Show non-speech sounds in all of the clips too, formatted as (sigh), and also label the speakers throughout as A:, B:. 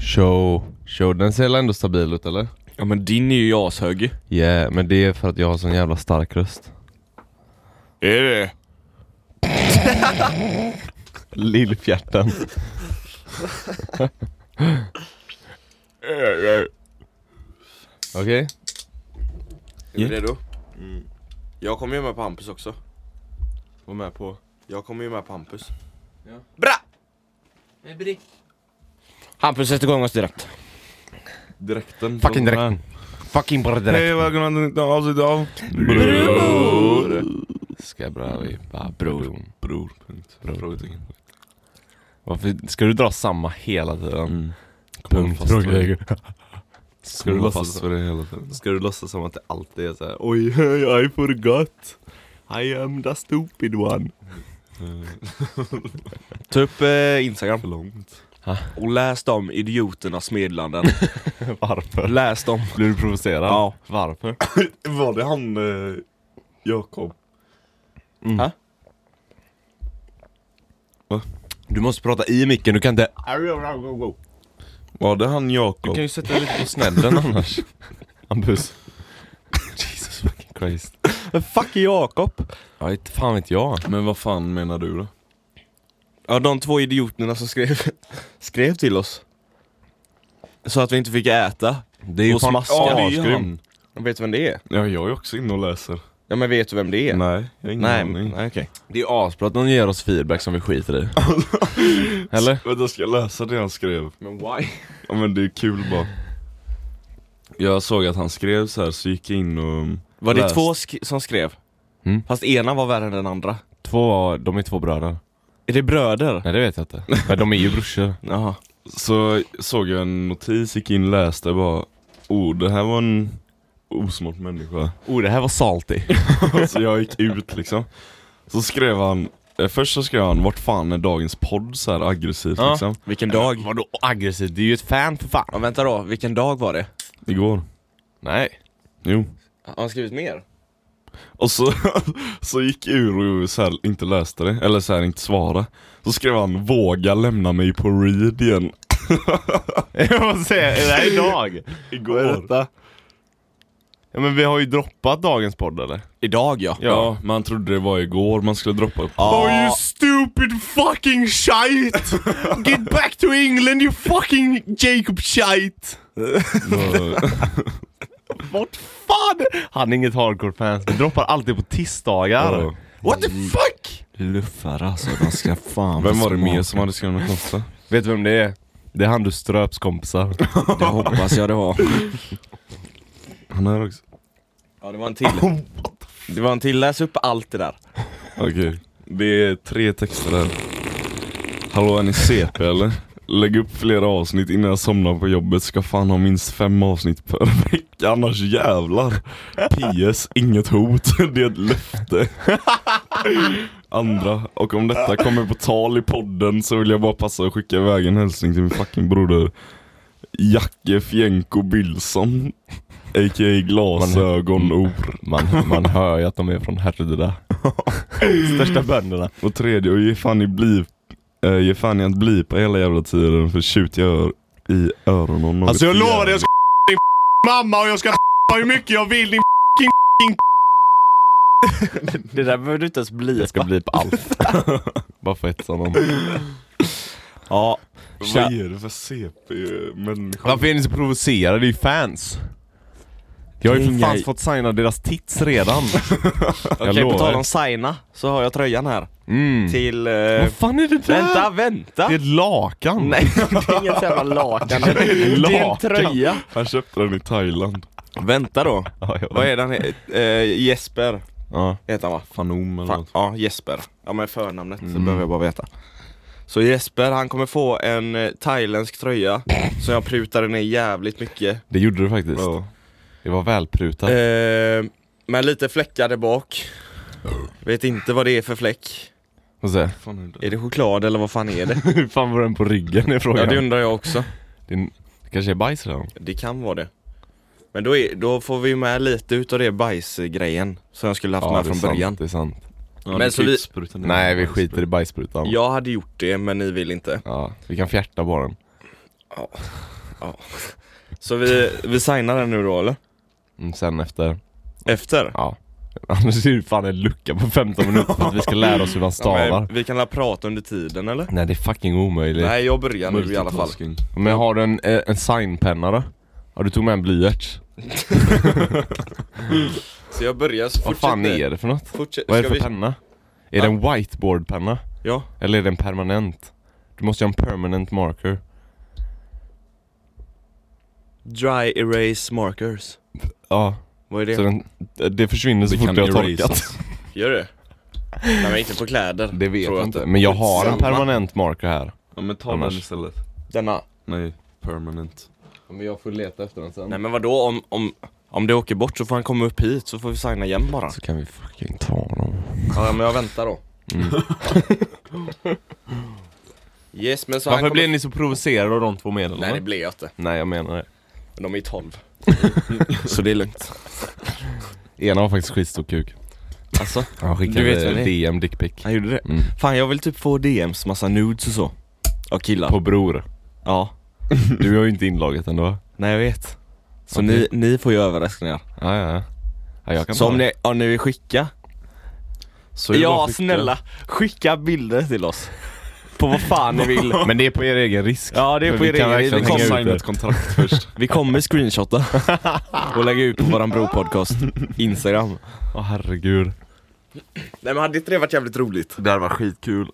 A: Show. Show. Den ser väl ändå stabil ut eller?
B: Ja men din är ju ashög.
A: Yeah, men det är för att jag har sån jävla stark röst.
B: Är det?
A: Lillfjärten. Okej.
C: Är vi redo?
D: Mm.
C: Jag kommer ju med på Hampus också.
A: Var med på.
C: Jag kommer ju med på Hampus.
B: Hampus sätt igång oss direkt.
A: Direkten.
B: Fucking direkt.
A: Var med.
B: Fucking bara direkt.
D: välkomna till nytt avsnitt av...
A: Bror. Ska bra vi bara bror.
D: Bror. Punkt. Frågetecken.
A: Varför ska du dra samma hela tiden? Punkt.
D: Fast-
A: Ska
D: Ska
A: du
D: du
A: låtsas
D: fast för det hela tiden?
A: Ska du låtsas som att det alltid är såhär Oj, I forgot I am the stupid one
C: Ta upp eh, Instagram.
D: För långt.
C: Och läs de idioternas meddelanden.
A: Varför?
C: läs dem.
A: Blir du provocerad?
C: Ja.
A: Varför?
D: Var det han eh, Jakob?
A: Du måste prata i micken, du kan inte
D: Var det han Jakob?
A: ju sätta dig lite på snedden annars Hampus (laughs) Jesus fucking Christ Men fuck är Jakob? Ja, inte fan vet jag
D: Men vad fan menar du då?
C: Ja, de två idioterna som skrev, (laughs) skrev till oss. Så att vi inte fick äta.
A: Det är ju
C: Och
A: fan
C: smaska. Ja, det är ju
A: asgrym.
D: han.
C: Jag vet vem det är?
D: Ja, jag är också inne och läser.
C: Ja men vet du vem det är?
D: Nej, jag har ingen
C: Nej,
D: aning.
C: men- nej okej.
A: Det är asbra att de ger oss feedback som vi skiter (laughs) i Eller?
D: Vänta, ska jag läsa det han skrev?
C: Men why?
D: Ja men det är kul bara. Jag såg att han skrev så här, så gick jag in och...
C: Var det
D: Läst.
C: två sk- som skrev?
A: Mm.
C: Fast ena var värre än den andra.
A: Två, de är två bröder
C: Är det bröder?
A: Nej det vet jag inte Men de är ju brorsor
C: Jaha.
D: Så såg jag en notis, gick in och läste och bara Oh, det här var en osmart människa.
A: Oh det här var salty
D: så jag gick ut liksom. Så skrev han, eh, först så skrev han vart fan är dagens podd så här aggressivt
A: Ja.
D: liksom.
C: Vilken dag?
A: Vadå aggressivt? Det är ju ett fan för fan
C: Ja vänta då, vilken dag var det?
D: Igår.
A: Nej
D: Jo.
C: Har han skrivit mer?
D: Och så, (laughs) så gick ur och så här, inte läste det, eller så här, inte svara. Så skrev han 'Våga lämna mig på read igen'
A: (laughs) Jag måste säga, är det här idag?
D: Igår.
A: Ja men vi har ju droppat dagens podd eller?
C: Idag ja.
D: Ja, man trodde det var igår man skulle droppa upp.
A: Oh you stupid fucking shite! (laughs) Get back to England you fucking Jacob shite! Vart fan? Han är inget hardcore fans, vi droppar alltid på tisdagar.
D: Ja.
A: What the fuck?
C: Luffar alltså, de ska fan
D: Vem var det mer som hade skrivit något också?
A: Vet du vem det är? Det är han du ströps kompisar.
C: Det hoppas jag det var.
D: Han är också.
C: Ja det var en (laughs) till. Det var en till, läs upp allt det där.
D: Okej. Det är tre texter där. Hallå är ni CP eller? Lägg upp flera avsnitt innan jag somnar på jobbet. Ska fan ha minst fem avsnitt per vecka annars jävlar. PS, inget hot. (laughs) Det är ett löfte. Andra, och om detta kommer på tal i podden så vill jag bara passa och skicka iväg en hälsning till min fucking broder Jacke Fjenko Billson. A.k.a. Glasögon-Or.
A: Man, man hör ju att de är från Härryda. Största bönderna.
D: Och tredje, och ge fan i bli, eh, ge fan i att bli på hela jävla tiden för tjut jag hör i öronen något
A: Alltså jag lovar dig, jag
D: jävligt.
A: ska din mamma och jag ska hur mycket jag vill din
C: (laughs) Det där behöver du inte ens bli.
A: Jag ska bli på allt. Bara för att hetsa honom. Ja.
D: Vad är det för CP-människa?
A: Varför är ni så provocerade? Det är ju fans. Jag har ju för
C: Inga-
A: fan fått signa deras tits
C: (laughs)
A: redan. Jag
C: Okej, på tal
A: lovar.
C: om signa så har jag tröjan här.
A: Mm.
C: Till... eh,
A: Vad fan är det där?
C: vänta, vänta!
A: Det är ett lakan.
C: (laughs) Nej, det är inget jävla lakan. Det är en
A: Lakan.
C: tröja.
D: Han köpte den i Thailand.
C: Vänta då.
A: Ja, jag
C: Vad
A: vet.
C: är den? Eh, Jesper
A: Ja.
C: heter Mm. han va?
D: Fanom eller
C: Fan,
D: något.
C: ja, Jesper. Ja men förnamnet så behöver jag bara veta. Så Jesper han kommer få en eh, thailändsk tröja som jag prutade ner jävligt mycket.
A: Det gjorde du faktiskt.
D: Ja.
A: Det var välprutat.
C: Eh, med lite fläckar där bak. Vet inte vad det är för fläck.
A: Och så,
D: Fan är det?
C: Är det choklad eller vad fan är det?
A: (laughs) hur fan var den på ryggen är
C: Ja
A: frågan.
C: det undrar jag också.
A: Din... Det kanske är bajs redan?
C: Det kan vara det. Men då, är, då får vi med lite utav det bajsgrejen som jag skulle haft med
A: det är
C: från
A: sant,
C: början.
A: Det är sant.
D: Ja,
C: Men
D: du
C: så
D: kan ju
C: vi-
D: inte spruta ner
A: Nej
D: den.
A: vi skiter i bajsprutan.
C: Jag hade gjort det men ni vill inte.
A: Ja, vi kan fjärta på den.
C: Så vi, vi signar den nu då eller?
A: Mm, sen efter.
C: Efter?
A: Ja. (laughs) Annars är det fan en lucka på 15 minuter för att vi ska lära oss hur man stavar.
C: men vi kan la prata under tiden eller?
A: Nej det är fucking omöjligt.
C: Nej jag börjar nu i alla fall.
D: Multitasking.
A: Men har du en, eh, en signpenna då? Ja du tog med en blyerts.
C: Så jag börjar så
A: Vad fan
C: fortsätter-
A: är det för något?
C: Fortsätt,
A: Vad är det
C: ska
A: för
C: vi-
A: penna? Är det en whiteboardpenna?
C: Ja.
A: Eller är det en permanent? Du måste ju ha en permanent marker.
C: Dry erase markers.
A: Ja,
C: Vad är det?
A: så den, det försvinner så
D: Vi
A: fort
D: kan
A: det har
D: erase
A: torkat.
C: Gör det? Nej men inte på kläder.
A: Det vet
C: tror
A: jag
C: inte.
A: inte. Men jag har en
C: Samma.
A: permanent marker här.
D: (laughs) Ja men ta
A: Annars.
D: den istället.
C: Denna.
D: Nej, permanent.
A: Men jag får leta efter den sen.
C: Nej men vadå om, om, om det åker bort så får han komma upp hit så får vi signa igen bara.
A: Så kan vi fucking ta dem.
C: Ja men jag väntar då. (laughs) yes men så han
A: Varför
C: kommer...
A: blev ni så provocerade av de två medlemmarna?
C: Nej det blev jag inte.
A: Nej jag menar det.
C: Men de är 12. (laughs) så det är lugnt.
A: Ena har faktiskt skitstor kuk.
C: Alltså,
A: Han
C: skickade
A: DM dickpic.
C: han gjorde det.
A: Mm.
C: Fan jag vill typ få DMs, massa nudes och så. Av killar.
A: På bror.
C: Ja.
A: Du har ju inte inloggat ändå.
C: Nej jag vet. Så
A: Okej.
C: ni, ni får ju överraskningar.
A: Ja, ja. ja jag kan
C: Så
A: ta
C: om
A: det.
C: ni, om ni vill skicka,
D: Så är det bara
C: ja
D: att skicka.
C: snälla, skicka bilder till oss. På vad fan ni vill.
A: Men det är på er egen risk.
C: Ja det är
A: Men
C: på
A: vi
C: er
A: kan
C: egen
A: verkligen
C: vi
D: Vi kan
A: hänga ut
C: kommer,
D: signa
A: det.
D: ett kontrakt först.
C: (laughs) vi kommer screenshotta och lägga ut på våran bror-podcast Instagram.
A: Åh herregud.
C: Nej men hade inte det varit jävligt roligt?
A: Det här var skitkul.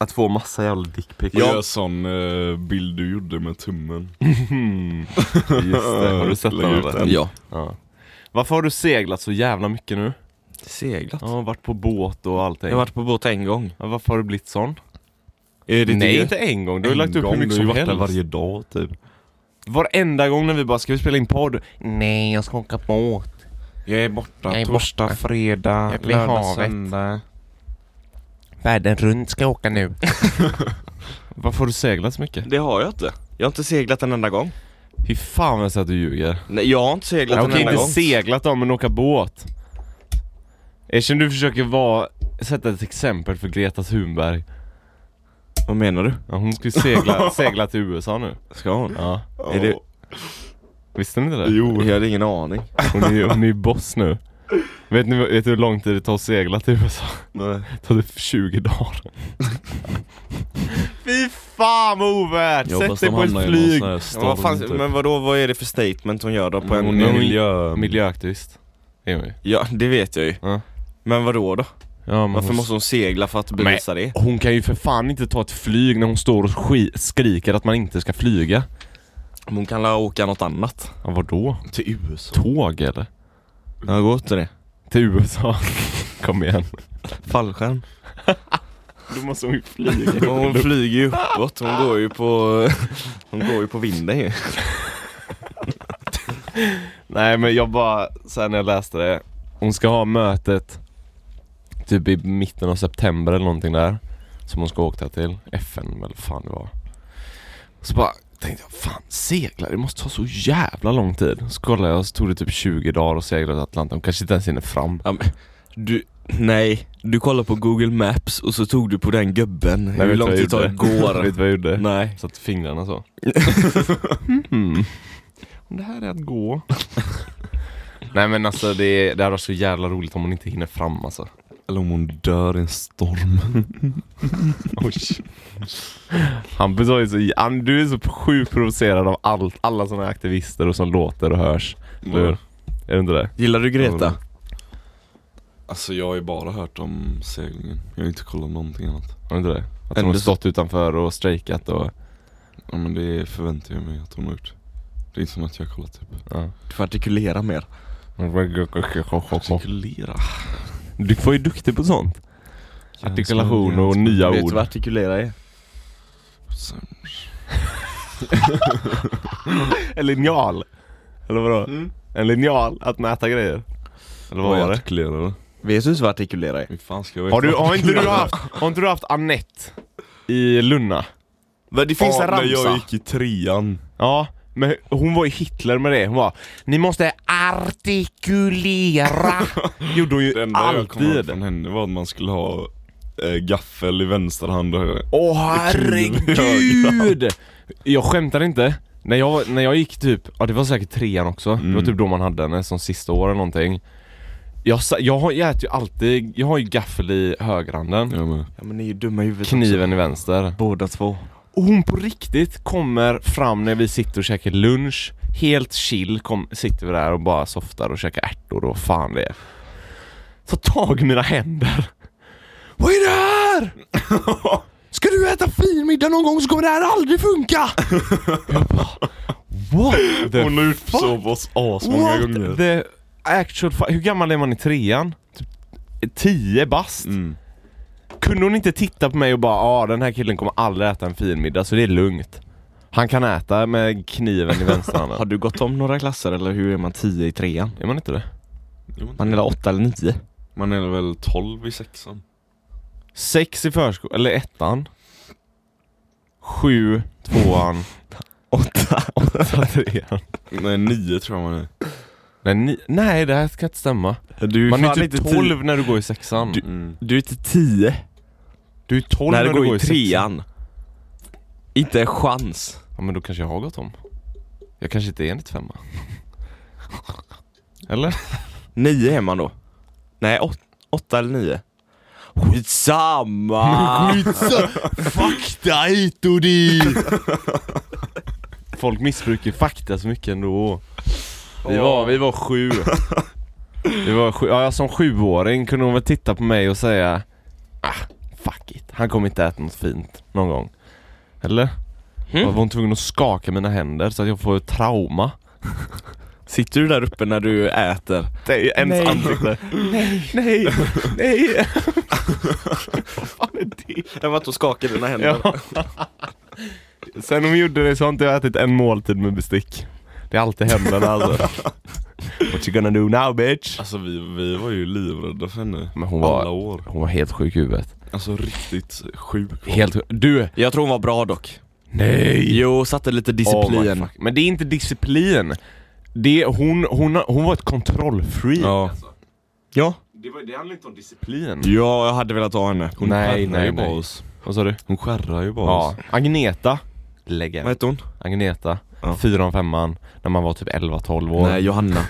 A: Att få massa jävla dickpics.
D: Jag gör sån eh, bild du gjorde med tummen.
A: (laughs) Just det. Har du sett den
D: Lägg ut
A: eller?
D: den.
C: Ja.
A: Ja. Varför har du seglat så jävla mycket nu?
C: Seglat.
A: Ja, varit på båt och allting.
C: Jag har varit på båt en gång.
A: Ja, varför har du blivit sån?
C: Är det
A: Nej,
C: det?
A: inte en gång. Du har ju lagt upp hur mycket
D: du
A: som
D: har ju varit
A: helst.
D: där varje dag typ.
A: Varenda gång när vi bara, ska vi spela in podd? Nej, jag ska åka båt.
D: Jag är borta
A: Jag är
D: torsdag,
A: borta.
D: fredag,
A: Jag blir i havet.
D: söndag.
A: Världen runt ska jag åka nu. Varför har du seglat så mycket?
C: Det har jag inte. Jag har inte seglat en enda gång.
A: Fy fan vad jag säger att du ljuger.
C: Nej jag har inte seglat
A: Ja,
C: en
A: Okej,
C: enda
A: inte
C: gång.
A: seglat då, men åka båt. Erkänn du försöker vara, sätta ett exempel för Greta Thunberg.
C: Vad menar du?
A: Ja, hon ska ju (laughs) segla, segla till USA nu.
C: Ska hon?
A: Ja.
C: Är det...
A: Visste ni inte det?
C: Jo. Jag hade ingen aning.
A: Hon är ju hon är ju boss nu. Vet ni vad- vet du hur lång tid det tar att segla till USA?
D: Nej.
A: Det tar typ 20 dagar. Fy fan vad ovärt!
D: Jag
A: Sätt
D: hoppas
A: dig
D: de
A: på ett
D: hamnar i någon
A: flyg!
D: sån här
C: Men vad, fan,
D: storm typ.
C: men vadå, vad är det för statement hon gör då på en...
D: Hon är
A: Hon-
D: miljö...
A: Miljöaktivist. är hon ju.
C: Ja, det vet jag ju.
A: Ja.
C: Men vadå då?
A: Ja, men
C: Varför
A: hon,
C: måste hon segla för att bevisa det?
A: hon kan ju för fan inte ta ett flyg när hon står och ski- skriker att man inte ska flyga.
C: Hon kan la åka något annat.
A: Ja, vadå?
D: Till USA.
A: Tåg eller?
C: Jag går till det.
A: Till USA? (laughs) Kom igen.
C: Fallskärm.
A: Då måste hon ju flyga.
C: Hon flyger ju uppåt, hon går ju på, (laughs) hon går ju på vinden ju.
A: Nej men jag bara, såhär när jag läste det Hon ska ha mötet typ i mitten av september eller någonting där Som hon ska åka till, FN eller vad fan det var Så bara tänkte jag, fan segla, det måste ta så jävla lång tid Så kollade jag, så tog det typ 20 dagar att segla till Atlanten, hon kanske inte ens hinner fram
C: Ja, men, du, nej, du kollar på google maps och så tog du på den gubben hur
A: vet
C: lång
A: du vad
C: tid
A: jag
C: det
A: gjorde? (laughs) Vet
C: (laughs)
A: du
C: går.
A: vad jag gjorde?
C: nej.
A: Satt fingrarna
C: (laughs)
A: så mm. Om det här är att
C: (laughs)
A: gå Nej men alltså det, det hade varit så jävla roligt om hon inte hinner fram alltså
D: Eller om hon dör i en storm.
A: Oj. Hampus har ju så, han, du är så sjukt provocerad av allt, alla såna här aktivister och som låter och hörs.
C: Mm.
A: Eller hur? Är du inte det?
C: Gillar du Greta?
D: Alltså jag har ju bara hört om seglingen. Jag har inte kollat någonting annat.
A: Har du inte det? Att hon
C: Ändå
A: har
C: så-
A: stått utanför och strejkat och...
D: Ja men det förväntar jag mig att hon har gjort. Det är inte som att jag har kollat typ.
A: Ja.
C: Du får artikulera mer.
D: Artikulera.
A: Du var ju duktig på sånt. Artikulation och nya
C: Vet du
A: ord.
C: vad artikulera är?
A: En linjal. Eller vadå? En linjal att mäta grejer. Eller vad var det?
D: Artikulera
C: Vet du vad artikulera är?
D: Hur fan ska jag veta?
A: Har, du, har,
C: (laughs)
A: inte du haft, har inte du haft Annette i Lunna?
C: Men det finns en
D: När jag
C: ramsa.
D: gick i trean.
A: Ja, Men hon var ju Hitler med det. Hon var Ni måste artikulera. Gjorde hon
D: Det
A: ju
D: enda jag kom ihåg
A: alltid.
D: från henne var att man skulle ha eh, gaffel i vänster hand och höger.
A: Åh (laughs) herregud! Jag skämtar inte. När jag, när jag gick typ, ja det var säkert trean också. Det var typ då man hade henne som sista år eller någonting. Jag, sa- jag, har, jag äter ju alltid, jag har ju gaffel i högerhanden.
D: Jag med.
C: Ja men ni är ju dumma i huvudet också.
A: Kniven i vänster.
C: Båda två.
A: Och hon på riktigt kommer fram när vi sitter och käkar lunch Helt chill kom, sitter vi där och bara softar och käkar ärtor och vad fan det är Ta tag i mina händer Vad är det
D: (laughs)
A: här? Ska du äta finmiddag någon gång så kommer det här aldrig funka! Jag bara, What the
D: Hon har utsov oss asmånga
A: What
D: gånger.
A: the actual fa- Hur gammal är man i trean? Typ 10 bast?
D: Mm.
A: Kunde hon inte titta på mig och bara ah, den här killen kommer aldrig äta en fin middag så det är lugnt. Han kan äta med kniven i
C: Har (laughs)
A: vänsterhanden.
C: du gått om några klasser eller hur är man 10 i trean?
A: är man inte det?
C: Man är väl 8 eller 9?
D: Man är väl 12 i sexan?
A: Sex i förskolan, eller ettan. Sju,
C: (laughs)
A: tvåan,
C: 8?
A: åtta, trean.
D: Nej, 9 tror jag man är.
A: Nej, ni- nej, det här ska inte stämma.
C: Du
A: Man är
C: fan
A: ju typ
C: ti-
A: 12 när du går i sexan. Du,
D: Mm.
C: Du är inte 10
A: är 12
C: när
A: när,
C: du går i
A: sexan.
C: trean. Inte en chans.
A: Ja men då kanske jag har gått om. Jag kanske inte är en 95 Eller?
C: 9 är man då. Nej, 8 eller 9. (laughs) Skitsamma!
A: Fakta hit och dit! Folk missbrukar fakta så mycket ändå. Vi var, vi var sju. Vi var sju. Ja, som sjuåring kunde hon väl titta på mig och säga ah, fuck it, han kommer inte äta något fint någon gång. Eller?
C: Mm.
A: Var hon tvungen att skaka mina händer så att jag får ett trauma?
C: Sitter du där uppe när du äter?
A: Det är ens
C: Nej.
A: ansikte. Nej, nej, (laughs) nej.
C: Jag var inte och skakade dina händer.
A: Ja. (laughs) Sen de gjorde det så har inte jag ätit en måltid med bestick. Det är alltid händerna
C: (laughs)
A: alltså. What you gonna do now bitch?
D: Alltså vi, vi var ju livrädda för henne.
A: Men hon
D: Alla
A: var,
D: år.
A: hon var helt sjuk i huvudet.
D: Alltså riktigt sjuk.
A: Helt sjuk. Du!
C: Jag tror hon var bra dock.
A: Nej!
C: Jo, satte lite
A: Oh
C: disciplin.
A: my fuck. Men det är inte disciplin. Det, hon, hon, hon var ett kontrollfreak.
D: Ja.
C: ja.
A: Det, var, det handlar inte om disciplin.
C: ja, jag hade velat ha henne.
D: Hon
A: Nej,
D: skärrar
A: nej,
D: ju bara
A: nej.
D: oss.
A: Vad sa du?
D: Hon skärrar ju bara
A: Ja.
D: oss.
A: Agneta. Lägg
C: Vad hette hon?
A: Agneta.
C: Ja.
A: Fyran, femman. När man var typ 11-12 år.
C: Nej, Johanna.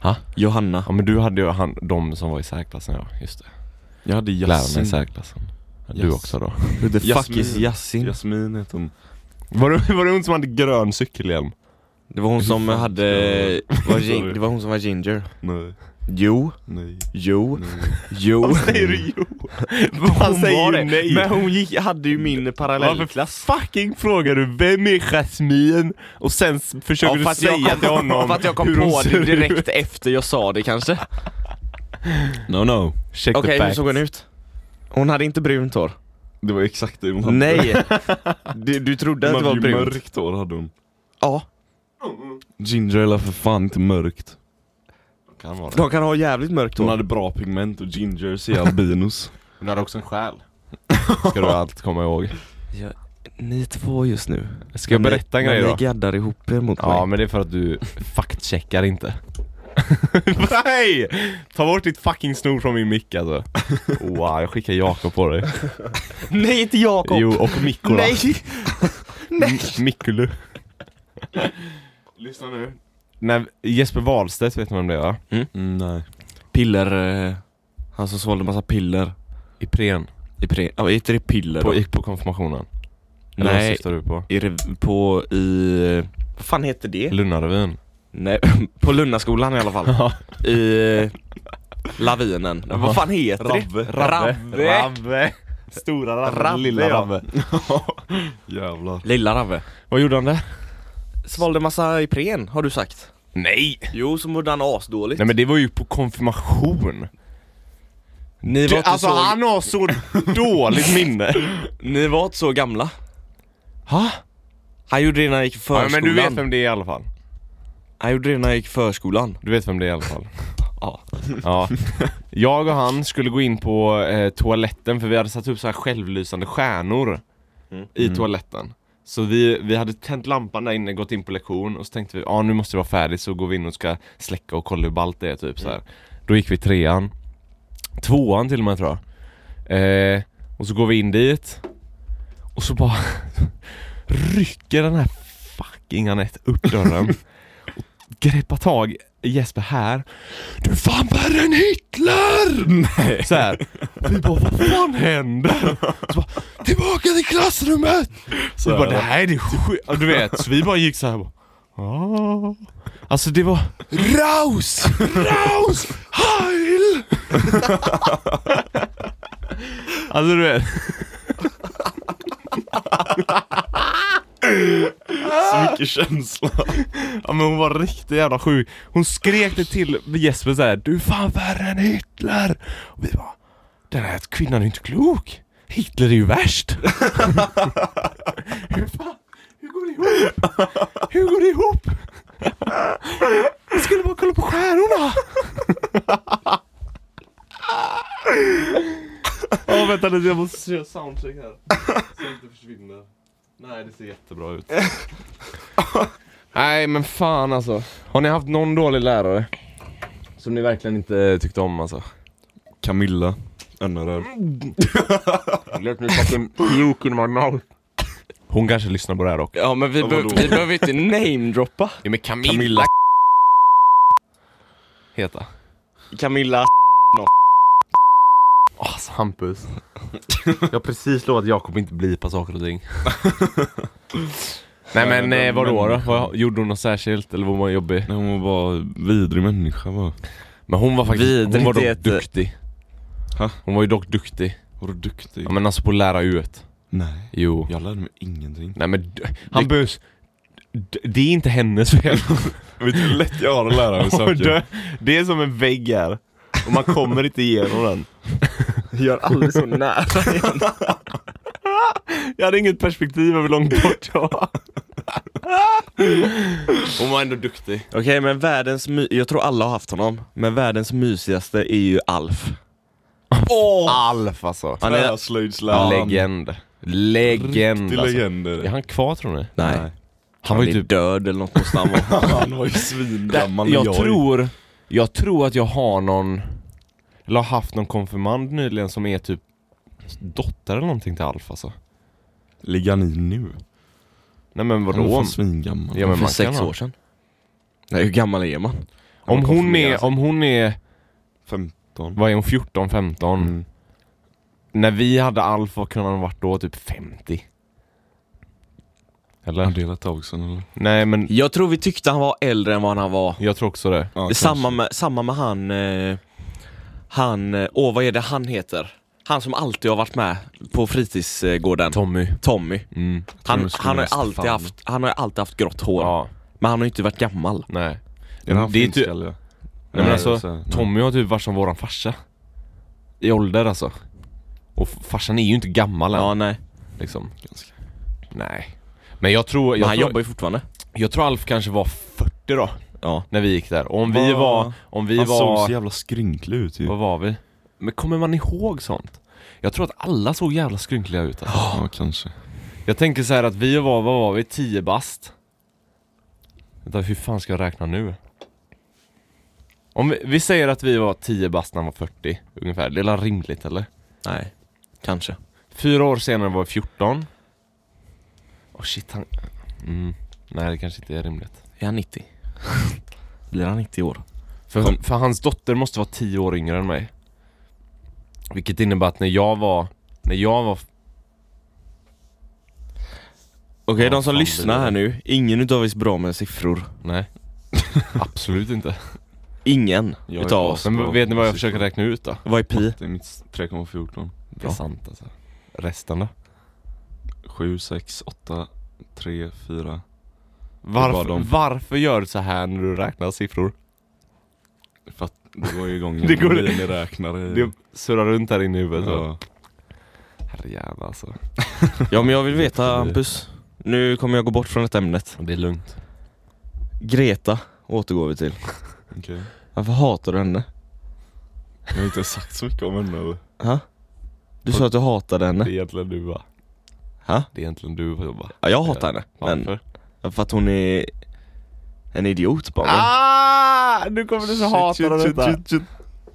A: Ha?
C: Johanna.
A: Ja men du hade ju han, de som var i särklassen ja, just det.
D: Jag hade
A: Lärarna i
D: Jasmin.
A: särklassen. Du
D: Yes.
A: också då.
C: Who the fuck
D: Jasmin.
C: is Yasin?
D: Jasmin heter hon.
A: (laughs) Var det, var det hon som hade grön cykelhjälm?
C: Det var hon som
D: fan
C: hade... Var gin- det var hon som var ginger.
D: Nej,
C: Jo,
D: nej,
C: jo,
D: nej.
C: (laughs) jo.
A: Säger du jo? Han
C: (laughs) Hon
A: säger
C: var
A: ju
C: det,
A: nej.
C: Men hon gick, hade ju min parallellklass.
A: fucking frågar du vem är Jasmin? Och sen s- försöker du säga till honom
C: för att jag kom
A: hur hon
C: på
A: ser
C: det
A: ut.
C: direkt efter jag sa det kanske.
D: No no.
A: Check
C: Okej,
A: the
C: hur
A: facts.
C: såg hon ut? Hon hade inte brunt hår.
D: Det var exakt det hon hade.
C: Nej! Du, du trodde att
D: Men
C: det var
D: ju
C: brunt?
D: mörkt hår hade hon.
C: Ja.
D: Ginger eller för fan inte mörkt.
A: Kan vara det.
C: De kan ha jävligt mörkt
D: Hon
C: hår.
D: hade bra pigment och
C: (laughs)
D: ginger ser albinos.
A: Hon hade också en (laughs) själ. Ska du allt komma ihåg.
C: Ni två just nu.
A: Ska jag berätta en grej
C: men
A: då?
C: Ni gaddar ihop er mot
A: Ja
C: mig.
A: men det är för att du faktcheckar (laughs) inte. Nej! Ta bort ditt fucking snor från min mick (laughs) alltså. Wow, jag skickar Jakob på dig.
C: Nej, inte Jakob!
A: Jo, och Mikkola.
C: Nej! Nej!
A: (laughs) Mikkulu. Lyssna nu. När Jesper Wahlstedt, vet ni vem det är va?
D: Mm, nej.
C: Piller... eh, Han som sålde massa piller.
A: Ipren.
C: I pre... Ja, heter det piller
A: På,
C: då?
A: gick på konfirmationen. Eller vad
C: Nej,
A: syftar du på?
C: i, rev- på i... Vad fan heter det?
A: Lunnarevyn.
C: Nej, (laughs) på Lundaskolan i alla fall.
A: (laughs) Ja.
C: I... eh, Lavinen.
A: Ja.
C: Vad fan heter
D: Rabbe.
C: det? Rabbe.
A: Rabbe! Stora Rabbe,
C: Rabbe,
A: lilla
C: ja.
A: (laughs) Rabbe.
D: Jävlar.
C: Lilla Rabbe.
A: Vad gjorde han där?
C: Svalde massa Ipren, har du sagt.
A: Nej!
C: Jo, så mådde han asdåligt.
A: Nej men det var ju på konfirmation.
C: ni, var
A: Du,
C: inte
A: alltså
C: så,
A: han har (laughs) så dåligt minne.
C: ni var inte så gamla.
A: Ha?
C: Han gjorde det när han gick i
A: Ja,
C: förskolan.
A: men du vet vem det är i alla fall.
C: Han gjorde det när han gick i förskolan.
A: Du vet vem det är i alla fall.
C: Ja.
A: (laughs) Ja. Jag och han skulle gå in på eh, toaletten för vi hade satt upp så här självlysande stjärnor i toaletten. Så vi, vi hade tänt lampan där inne, gått in på lektion och så tänkte vi ah, nu måste det vara färdigt så går vi in och ska släcka och kolla hur ballt det är typ så här. Då gick vi trean Tvåan till och med tror jag eh, Och så går vi in dit Och så bara (laughs) rycker den här fucking Anette upp dörren och greppar tag i Jesper här Du är fan värre än Hitler! Nej. Så här. Vi bara vad fan händer? Så bara, Tillbaka till klassrummet! Så vi bara det här är det sjukt, Ja, du vet, så vi bara gick så här bara, "Ah." Alltså det var Raus! Raus! (laughs) Heil! alltså du vet
D: Så mycket känsla.
A: Ja men hon var riktigt jävla sjuk. Hon skrek det till Jesper såhär Du är fan värre än Hitler! Och vi bara Den här kvinnan är inte klok! Hitler är ju värst! (laughs) hur fan, hur går det ihop? Hur går det ihop? Jag skulle bara kolla på (laughs) stjärnorna! Ja vänta lite, jag måste köra soundcheck här. Så det inte försvinner. Nej det ser jättebra ut. Nej men fan alltså. Har ni haft någon dålig lärare? Som ni verkligen inte tyckte om alltså?
D: Camilla, NRR.
A: Let me fucking puke in my mouth. Hon kanske lyssnar på det här dock.
C: Ja men vi, be- vi behöver inte namedroppa
A: Ja, men Camilla,
D: Camilla
A: heta.
C: Camilla (laughs)
A: Alltså (laughs) Hampus. Jag har precis lovat Jakob inte blipa saker och ting. Nej men eh, vadå då? Vad, gjorde hon något särskilt eller var hon jobbig?
D: Nej, hon var bara vidrig människa bara.
A: Men hon var faktiskt, hon
C: Vidrigt
A: var dock
C: heter-
A: duktig.
D: Ha?
A: Hon var ju dock duktig.
D: Var du duktig?
A: Ja, men alltså på att lära ut.
D: Nej.
A: Jo.
D: Jag lärde mig ingenting.
A: Nej men d- Hampus, d- det är inte hennes fel.
D: Vet du hur lätt jag (laughs) har att lära mig saker?
A: det är som en vägg här. Och man kommer inte igenom den.
C: Gör aldrig så nära
A: (laughs) Jag hade inget perspektiv över långt bort jag var. Hon var ändå duktig.
C: Okej men världens, my- jag tror alla har haft honom Men världens mysigaste är ju Alf
A: Alf alltså.
C: Han är,
D: Träslöjdsläraren.
A: (laughs) Legend. Legend
D: Till
A: alltså.
D: legender.
A: Är han kvar tror ni?
C: nej,
A: Han var ju typ...
C: död eller något
A: (laughs)
C: måste han vara
D: (laughs) Han var ju svingammal
A: jag,
D: är-
A: tror, jag tror att jag har någon, eller har haft någon konfirmand nyligen som är typ dotter eller någonting till Alf alltså.
D: Ligger han i nu?
A: Nej men
D: Han är
A: vadå?
D: fan svingammal.
A: Ja, men man
C: För
A: kan
C: sex
A: ha.
C: år sedan Nej hur gammal är man?
A: Om
C: man
A: hon
C: konfirmerar
A: är,
C: sig.
A: om hon är,
D: 15.
A: vad är hon, 14, 15?
D: Mm.
A: När vi hade Alf, vad kunde han varit då? Typ 50? Eller?
D: Han delat tag sen eller?
A: Nej men
C: Jag tror vi tyckte han var äldre än vad han var
A: jag tror också det.
D: Ja,
C: samma, med, samma med han, eh, han, eh, åh vad är det han heter? Han som alltid har varit med på fritidsgården
A: Tommy.
C: Tommy
A: Mm.
C: Han,
D: Tror du
C: han, har ju
D: skulle
C: alltid
D: Stefan.
C: haft, han har ju alltid haft grått hår
A: Ja,
C: Men han har ju inte varit gammal
A: nej.
D: Är han
A: Det är
D: finsk
A: typ-
D: eller? Nej,
A: men alltså,
D: så här, nej.
A: Tommy har typ varit som våran farsa. I ålder alltså. Och f- farsan är ju inte gammal än.
C: Ja nej,
A: Liksom.
D: Ganska.
A: Nej. Men jag tror,
C: men
A: jag,
C: han
A: tror,
C: jobbar ju fortfarande
A: jag tror Alf kanske var 40 då.
C: Ja.
A: När vi gick där. Och om vi
D: Ja.
A: var, om vi
D: Han såg
A: var,
D: så jävla skrynklig ut typ. ju.
A: vad var vi? Men kommer man ihåg sånt? Jag tror att alla såg jävla skrynkliga ut alltså.
D: Ja, kanske.
A: Jag tänker så här att vi var, vad var vi? 10 bast? Vänta, hur fan ska jag räkna nu? Om vi, vi säger att vi var 10 bast när han var 40 ungefär, det är väl rimligt eller?
C: Nej, kanske
A: Fyra år senare var vi 14 Åh shit han... Mm. Nej det kanske inte är rimligt
C: Är han 90? (laughs) Blir han 90 i år?
A: för,
C: Kom.
A: för hans dotter måste vara 10 år yngre än mig Vilket innebär att när jag var... När jag var...
C: Okej,
A: Ja,
C: de som
A: fan,
C: lyssnar
A: det-
C: här nu, ingen utav er är bra med siffror
A: Nej (laughs) Absolut inte
C: Ingen
D: Jag är
C: utav
D: bra.
C: oss
A: Men vet ni vad jag försöker räkna ut då?
C: Vad är pi?
D: Det är mitt s- 3,14.
A: Det är sant alltså Resten då?
D: 7, 6, 8, 3, 4. var
A: Varför,
D: de.
A: varför gör du så här när du räknar siffror?
D: För att det går ju igång
A: (laughs) Det går-
D: en miniräknare i...
A: Det surrar runt här inne i huvudet Mm. ja.
D: ja.
A: Herrejävlar alltså
C: Ja men jag vill veta Hampus Nu kommer jag gå bort från detta ämnet
A: Det är lugnt
C: Greta återgår vi (laughs) till
D: Okej.
C: Varför hatar du henne?
D: Jag har inte sagt så mycket om henne eller?
C: Ha? Du sa att du hatade
A: Det är
C: henne
A: egentligen du va?
C: Ha?
A: Det är egentligen du som jobbar.
C: Ja, jag hatar henne. Men,
A: Varför?
C: för att hon är en idiot bara.
A: Ah! Nu kommer du så hata detta.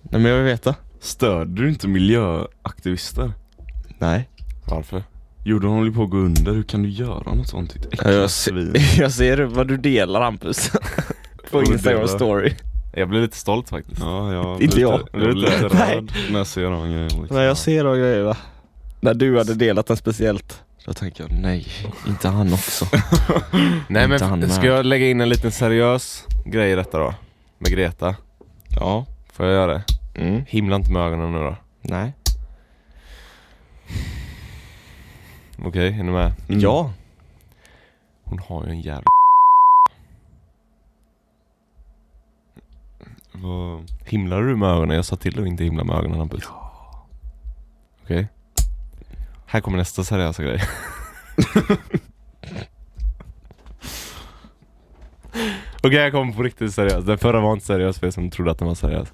C: Nej men jag vill veta.
D: Stör du inte miljöaktivister?
C: Nej.
A: Varför?
D: Jo, de håller ju på att gå under. Hur kan du göra något sånt? Ditt äckliga
C: Jag,
D: svin.
C: ser, (laughs) jag ser vad du delar (laughs) Hampus. På
D: Vad du
C: Instagram
D: delar?
C: story.
A: Jag blir lite stolt faktiskt.
D: Ja, jag
C: Inte
D: blir
C: jag.
D: lite- Jag blir lite
C: Nej.
D: röd när jag ser de här grejerna. Liksom.
C: När jag ser de grejerna. När du hade delat den speciellt. Då tänker jag nej, inte han också.
A: Nej
C: Inte han
A: men
C: med.
A: ska jag lägga in en liten seriös grej i detta då? Med Greta.
C: (laughs) Ja.
A: Får jag göra det?
C: Mm.
A: Himla inte med ögonen nu då.
C: Nej.
A: Okej, är ni med?
D: Mm.
C: Ja.
A: Hon har ju en jävla
D: Vad-
A: Himlar du med ögonen? Jag sa till dig att inte himla med ögonen Hampus. Ja. Okej. Här kommer nästa seriösa (laughs) grej. Okej, jag kommer på riktigt seriös. Den förra var inte seriös för er som trodde att den var seriös.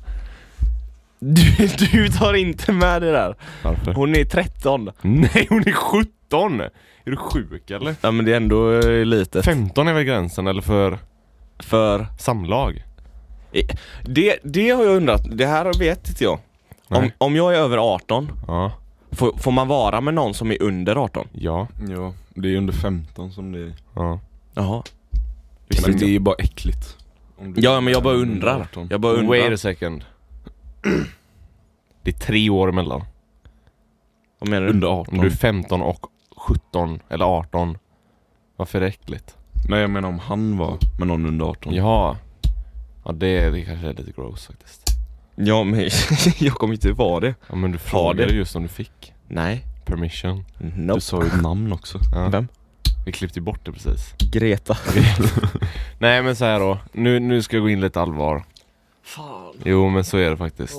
C: Du, (laughs) du tar inte med det där.
A: Varför?
C: Hon är 13.
A: Nej, hon är 17! Är du sjuk eller?
C: Ja men det är ändå eh, litet.
A: 15 är väl gränsen, eller för
C: För
A: samlag?
C: det, det har jag undrat. Det här vet inte jag. Om,
A: Nej.
C: om jag är över 18,
A: Ja.
C: får, får man vara med någon som är under 18?
A: Ja.
D: Ja, det är under 15 som det är.
A: Ja.
C: Jaha.
D: Men det är ju bara äckligt. Om du-
C: Ja, men jag bara undrar. Jag bara undrar.
A: Wait a second. Det är tre år emellan.
C: Vad menar du?
D: Under
A: Om
D: 18.
A: du är 15 och 17 eller 18. Varför är det äckligt?
D: Nej, jag menar om han var med någon under
C: Mm.
D: 18.
A: Jaha. Ja det, det kanske är lite gross faktiskt.
C: Ja men (laughs) jag kommer inte vara det.
A: Ja men du frågade
C: det.
A: just om du fick
C: Nej.
A: permission.
D: Du
C: Nope.
D: sa ju ett namn också.
A: Ja.
C: Vem?
A: Vi klippte ju bort det precis.
C: Greta.
A: Nej men så här då. Nu, nu ska jag gå in lite allvar.
C: Fan.
A: Jo men så är det faktiskt.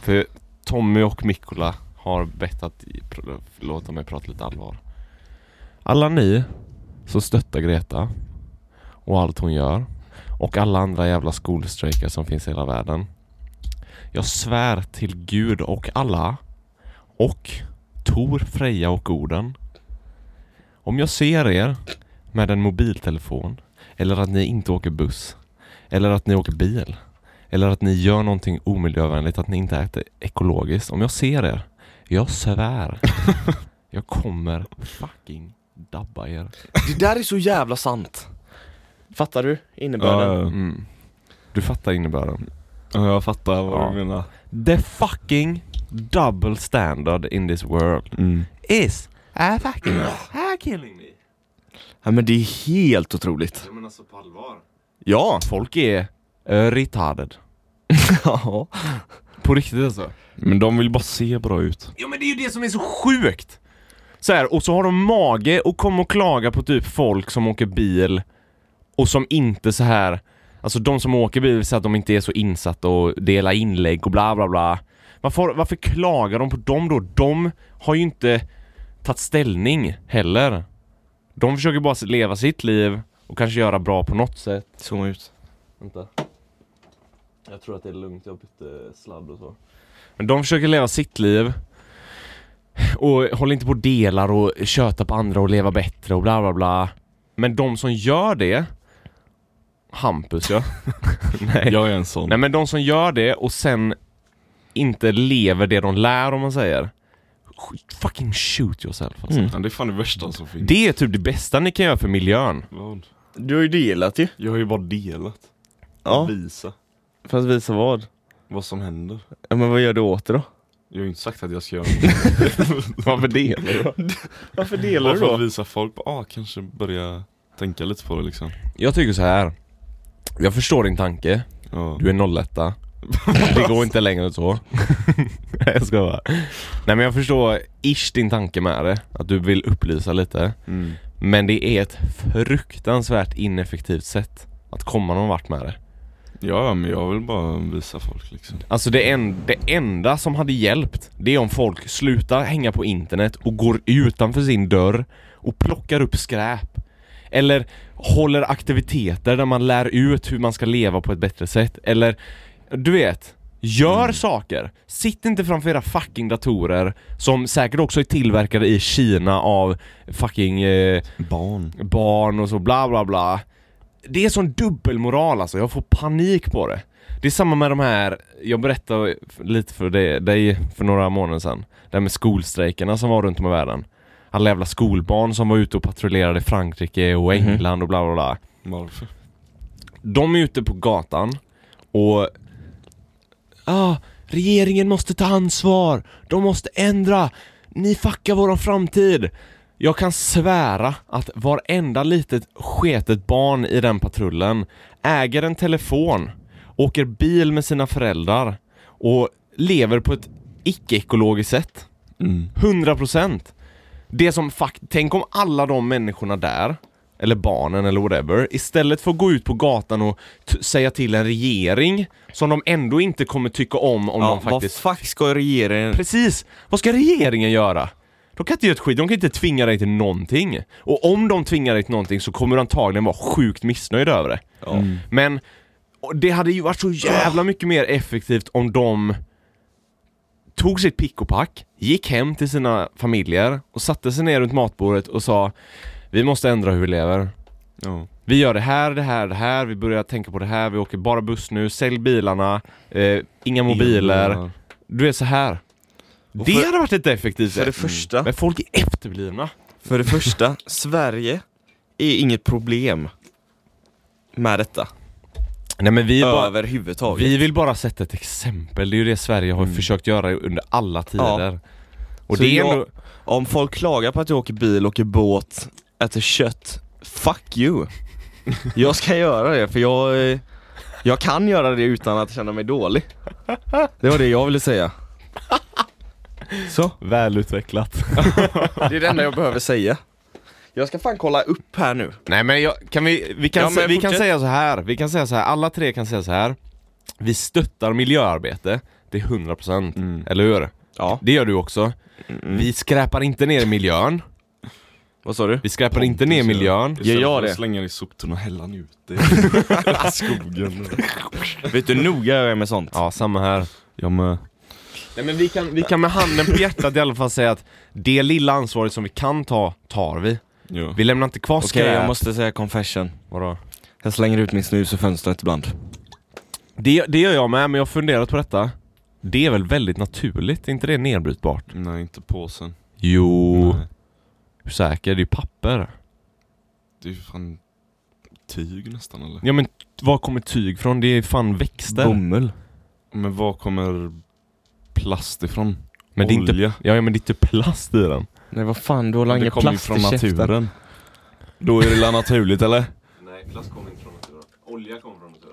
A: För Tommy och Mikkola har bett att pr- låta mig prata lite allvar. Alla ni som stöttar Greta och allt hon gör och alla andra jävla skolstrejker som finns i hela världen. Jag svär till Gud och alla och Tor, Freja och Orden. Om jag ser er med en mobiltelefon eller att ni inte åker buss eller att ni åker bil eller att ni gör någonting omiljövänligt, att ni inte äter ekologiskt. Om jag ser er, jag (laughs) svär. jag kommer fucking dabba er.
C: Det där är så jävla sant. Fattar du innebörden?
D: Ja,
A: Mm. Du fattar innebörden?
D: ja, jag fattar vad
A: Ja.
D: du menar.
A: The fucking double standard in this world
D: Mm.
A: is a (clears throat) fucking are killing me.
C: Ja men det är helt otroligt.
A: Jag menar så alltså, på allvar.
C: Ja.
A: Folk är eh, retarded.
C: ja.
A: På riktigt alltså.
D: Men de vill bara se bra ut.
A: Ja men det är ju det som är så sjukt! Så här, och så har de mage och kommer och klaga på typ folk som åker bil och som inte så här Alltså de som åker bil säger att de inte är så insatta och delar inlägg och bla bla bla Varför, varför klagar de på dem då? De har ju inte tagit ställning heller De försöker bara leva sitt liv och kanske göra bra på något sätt
C: Zooma ut.
A: Vänta. Jag tror att det är lugnt, jag bytte sladd och så. Men de försöker leva sitt liv. Och håller inte på och delar och köta på andra och leva bättre och bla bla bla. Men de som gör det... Hampus (laughs) ja. Nej.
D: Jag är en sån.
A: Nej men de som gör det och sen inte lever det de lär om man säger. Sk- Fucking shoot yourself alltså.
D: Ja, det är fan det värsta som finns.
A: Det är typ det bästa ni kan göra för miljön.
D: Vad?
C: Du har ju delat ju.
D: Jag har ju bara delat.
C: Ja.
D: Visa
C: För att visa vad?
D: vad som händer.
C: Ja men vad gör du åt det då?
D: Jag har ju inte sagt att jag ska göra
A: Varför det?
C: Varför delar
D: något. Bara för att visa folk, ah, kanske börja tänka lite på det liksom.
A: Jag tycker så här. Jag förstår din tanke.
D: Ja.
A: Du är 01 Det går inte längre än så. (laughs) Nej, jag ska bara. Nej men jag förstår ish din tanke med det. Att du vill upplysa lite.
D: Mm.
A: Men det är ett fruktansvärt ineffektivt sätt att komma någon vart med det.
D: Ja, ja, men jag vill bara visa folk liksom.
A: Alltså det, en, det enda som hade hjälpt, det är om folk slutar hänga på internet och går utanför sin dörr och plockar upp skräp. Eller håller aktiviteter där man lär ut hur man ska leva på ett bättre sätt. Eller, du vet, Gör saker! Sitt inte framför era fucking datorer som säkert också är tillverkade i Kina av fucking eh,
D: Barn.
A: barn och så bla bla bla. Det är sån dubbelmoral alltså, jag får panik på det. Det är samma med de här, jag berättade lite för dig, dig för några månader sedan. Det här med skolstrejkerna som var runt om i världen. Alla jävla skolbarn som var ute och patrullerade i Frankrike och
B: Mhm.
A: England och bla bla bla.
D: Varför?
A: De är ute på gatan och... Ah, regeringen måste ta ansvar! De måste ändra! Ni fuckar våran framtid! Jag kan svära att varenda litet sketet barn i den patrullen äger en telefon, åker bil med sina föräldrar och lever på ett icke-ekologiskt sätt.
D: Mm.
A: 100 procent. Det som fuck, tänk om alla de människorna där, eller barnen eller whatever, istället för att gå ut på gatan och t- säga till en regering som de ändå inte kommer tycka om om
C: Ja,
A: de faktiskt...
C: Vad fuck ska regeringen...
A: Precis! Vad ska regeringen göra? De kan inte göra ett skit, de kan inte tvinga dig till någonting. Och om de tvingar dig till någonting så kommer du antagligen vara sjukt missnöjd över det. Men och det hade ju varit så jävla mycket mer effektivt om de tog sitt pick och pack, gick hem till sina familjer och satte sig ner runt matbordet och sa Vi måste ändra hur vi lever.
D: Ja.
A: Vi gör det här, det här, det här, vi börjar tänka på det här, vi åker bara buss nu, sälj bilarna, eh, inga mobiler. Du är så här.
C: Och
A: Det
C: för-
A: hade varit ett effektivt
C: För det
A: sätt.
C: första,
A: Men folk är efterblivna.
C: för det första, Sverige är inget problem med detta.
A: Nej men vi är bara,
C: Överhuvudtaget.
A: Vi vill bara sätta ett exempel, det är ju det Sverige har försökt göra under alla tider. Och
C: Så
A: det är
C: jag-
A: ändå...
C: Om folk klagar på att jag åker bil, åker båt, äter kött, fuck you! Jag ska göra det för jag, eh, jag kan göra det utan att känna mig dålig. Det var det jag ville säga. Så,
A: Välutvecklat.
C: det är det enda jag behöver säga. Jag ska fan kolla upp här nu.
A: Nej men jag, kan vi, vi, kan,
C: Ja,
A: sä-
C: men
A: vi kan
C: fortsätt.
A: säga så här. vi kan säga så här. alla tre kan säga så här. Vi stöttar miljöarbete, det är 100%, eller hur?
C: Ja.
A: Det gör du också. Vi skräpar inte ner miljön,
C: Vad sa du?
A: vi skräpar inte ner miljön.
D: Istället
C: jag
D: för att
C: det?
D: slänga det i soptunnan, hälla nu ut det i skogen.
C: Vet du hur noga jag är med sånt?
A: Ja, samma här.
D: Jag med.
A: Nej men vi kan, vi kan med handen på hjärtat i alla fall säga att det lilla ansvaret som vi kan ta, tar vi.
D: Ja.
A: Vi lämnar inte kvar
C: Okej,
A: skräp.
C: jag måste säga confession.
A: Vadå?
C: Jag slänger ut min snus ur fönstret ibland.
A: Det, det gör jag med, men jag har funderat på detta. Det är väl väldigt naturligt? Är inte det nedbrytbart?
D: Nej, inte påsen.
A: Jo,
D: Nej.
A: hur säker? Det är ju papper.
D: Det är ju fan tyg nästan eller?
A: Ja men t- var kommer tyg från? Det är ju fan växter.
C: Bomull.
D: Men var kommer plast ifrån?
A: Men det är inte,
D: Olja.
A: ja, ja, men det är inte plast i den.
C: Nej vad fan, du har langat
D: det
C: plast
D: kommer ju
C: i
D: från
C: käften.
D: naturen. Då är det la naturligt eller?
A: Nej, plast kommer inte från naturen. Olja kommer från naturen.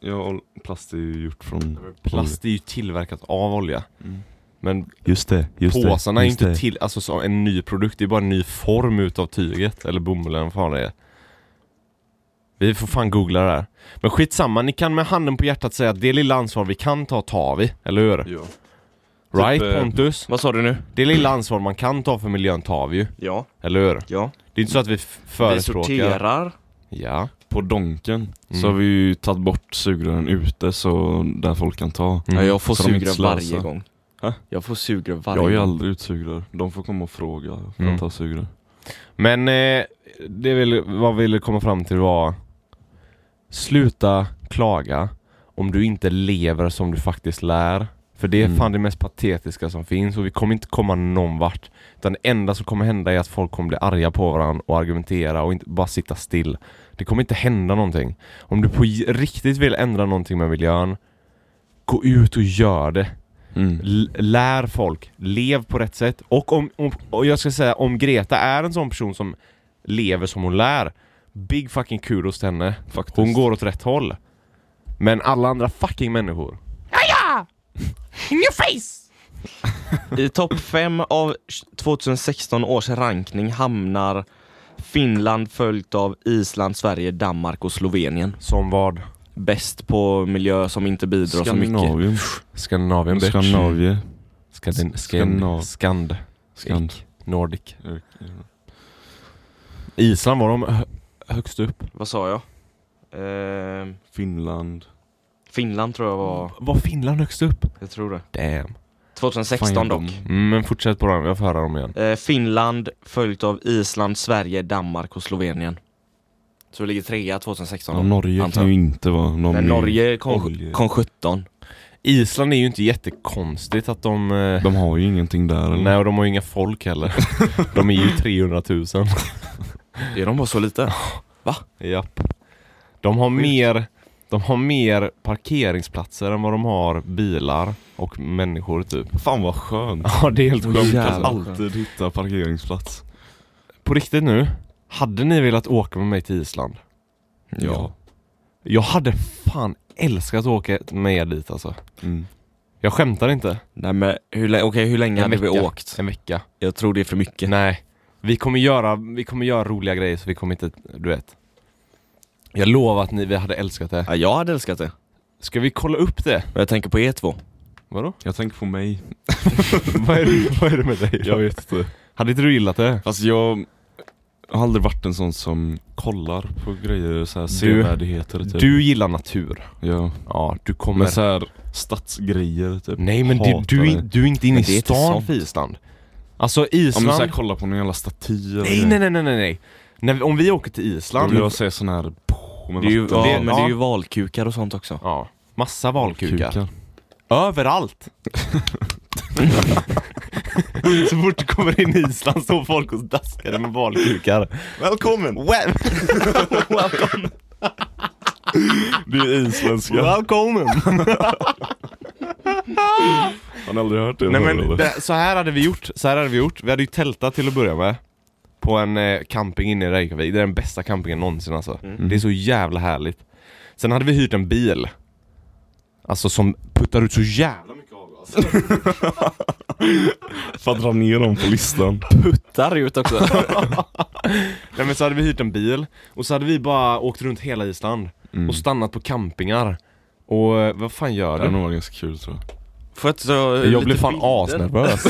D: Ja, ol- plast är ju gjort från...
A: Plast är ju tillverkat av olja.
D: Mm.
A: Men
D: Just det, just
A: påsarna är
D: det.
A: ju
D: just
A: inte
D: det.
A: till, alltså som en ny produkt, det är bara en ny form utav tyget, eller bomullen, vad fan det är. Vi får fan googla det här. Men skitsamma, ni kan med handen på hjärtat säga att det lilla ansvar vi kan ta, tar vi, eller hur?
D: Ja.
A: right
D: eh,
A: Pontus?
C: Vad sa du nu?
A: Det lilla ansvar man kan ta för miljön tar vi ju,
C: Ja,
A: eller hur?
C: ja.
A: Det är inte så att vi f-
C: Vi
A: förespråkar...
C: sorterar.
D: Mm.
A: Ja.
D: På donken
A: Mm.
D: så har vi ju tagit bort sugrören ute så där folk kan ta.
A: Mm.
C: Ja, jag får
D: Så de inte
C: sugrör
D: slösar.
C: varje gång.
D: Ha?
C: Jag får sugrör varje
D: Jag har ju
C: gång.
D: aldrig ut sugrör. De får komma och fråga för att
A: Mm.
D: ta sugrör.
A: Men eh, det vill, vad vi ville komma fram till var Sluta klaga om du inte lever som du faktiskt lär. För det är
D: Mm.
A: fan det mest patetiska som finns och vi kommer inte komma någon vart. Utan det enda som kommer hända är att folk kommer bli arga på varandra och argumentera och inte bara sitta still. Det kommer inte hända någonting. Om du på j- riktigt vill ändra någonting med miljön, gå ut och gör det.
D: Mm.
A: L- lär folk, lev på rätt sätt. Och, om, om, och jag ska säga, om Greta är en sån person som lever som hon lär, big fucking kudos till henne.
D: Faktiskt.
A: Hon går åt rätt håll. Men alla andra fucking människor. Ja! In your face!
C: I topp 5 av 2016 års rankning hamnar Finland följt av Island, Sverige, Danmark och Slovenien.
A: Som vad?
C: Bäst på miljö som inte bidrar så mycket.
D: Skandinavien.
A: Skandinavien bitch.
D: Skandinavien.
A: Skandin-
D: Skandinav-
A: Skand. Skand.
D: Skand.
A: Nordic. Island var de hö- högst upp.
C: Vad sa jag? Ehm,
D: Finland.
C: Finland tror jag var,
A: Var Finland högst upp?
D: Mm.
C: jag tror det.
A: Damn.
C: 2016 dock.
A: Mm, men fortsätt på den, jag får höra dem igen.
C: Eh, Finland följt av Island, Sverige, Danmark och Slovenien. Så det ligger trea 2016
D: Ja,
C: då.
D: Norge
C: antar
D: kan
C: jag.
D: ju inte vara någon
C: Men
D: ny.
C: Norge kom,
D: Norge.
C: kom 17.
A: Island är ju inte jättekonstigt att de... eh,
D: De har ju ingenting där eller?
A: Nej, och de har ju inga folk (laughs) heller. de är ju 300 000.
C: Är de bara så lite?
A: Japp. De har mer, de har mer parkeringsplatser än vad de har bilar och människor typ.
D: Fan vad skönt.
A: (laughs) Ja, det är helt
D: De
A: sjukt. alltså.
D: kan
C: jävlar.
D: alltid hitta parkeringsplats.
A: På riktigt nu, hade ni velat åka med mig till Island?
D: Ja.
A: Jag hade fan älskat att åka med er dit alltså.
D: Mm.
A: Jag skämtar inte.
C: Nej men hur, lä- okej, hur länge hade vi
A: vecka.
C: åkt?
A: En vecka.
C: Jag tror det är för mycket.
A: Nej. Vi kommer göra, vi kommer göra roliga grejer så vi kommer inte, du vet. Jag lovar att ni, vi hade älskat det.
C: Ja, jag hade älskat det.
A: Ska vi kolla upp det?
C: Men jag tänker på er två.
A: Vadå?
D: Jag tänker på mig.
A: vad, är, det- (laughs) vad är det med dig?
D: Jag vet inte.
A: Hade inte du gillat det?
D: Alltså jag har aldrig varit en sån som kollar på grejer så här
A: Du-
D: sevärdheter typ.
A: Du gillar natur.
D: Ja.
A: Ja, du kommer...
D: Men så här stadsgrejer typ.
A: Nej men du,
D: Hatar
A: du, är-
D: det.
A: du är inte
C: Men
A: inne i
C: det är inte
A: stan
C: sånt.
A: för Island. Alltså
D: Ja men
A: Island...
D: såhär kolla på någon jävla staty eller
A: nej, nej, nej, nej, nej, nej. När, vi- om vi åker till
D: Då
A: Island...
D: vill jag se sån här poh, med
C: Det är ju,
D: vatten.
C: ja,
A: det-
C: men det är ju valkukar och sånt också.
A: Ja. Massa valkukar.
D: Kukar.
A: Överallt! så fort du kommer in i Island står folk och daskar med valkukar.
C: Välkommen!
D: Det är isländska.
A: Välkommen!
D: Har ni aldrig hört det?
A: Nej
D: förr, eller?
A: men det, så här hade vi gjort, så här hade vi gjort. Vi hade ju tältat till att börja med. På en eh, camping inne i Reykjavik, det är den bästa campingen någonsin alltså. Det är så jävla härligt. Sen hade vi hyrt en bil. Alltså som puttar ut så jävla mycket avgas.
D: För att dra ner dem på listan.
C: Puttar ut (laughs) också.
A: Nej men så hade vi hyrt en bil och så hade vi bara åkt runt hela Island
D: Mm.
A: och stannat på campingar. Och eh, vad fan gör
D: Det är
A: du?
D: nog ganska kul tror jag.
C: Får jag inte så,
A: Jag blev fan asnervös.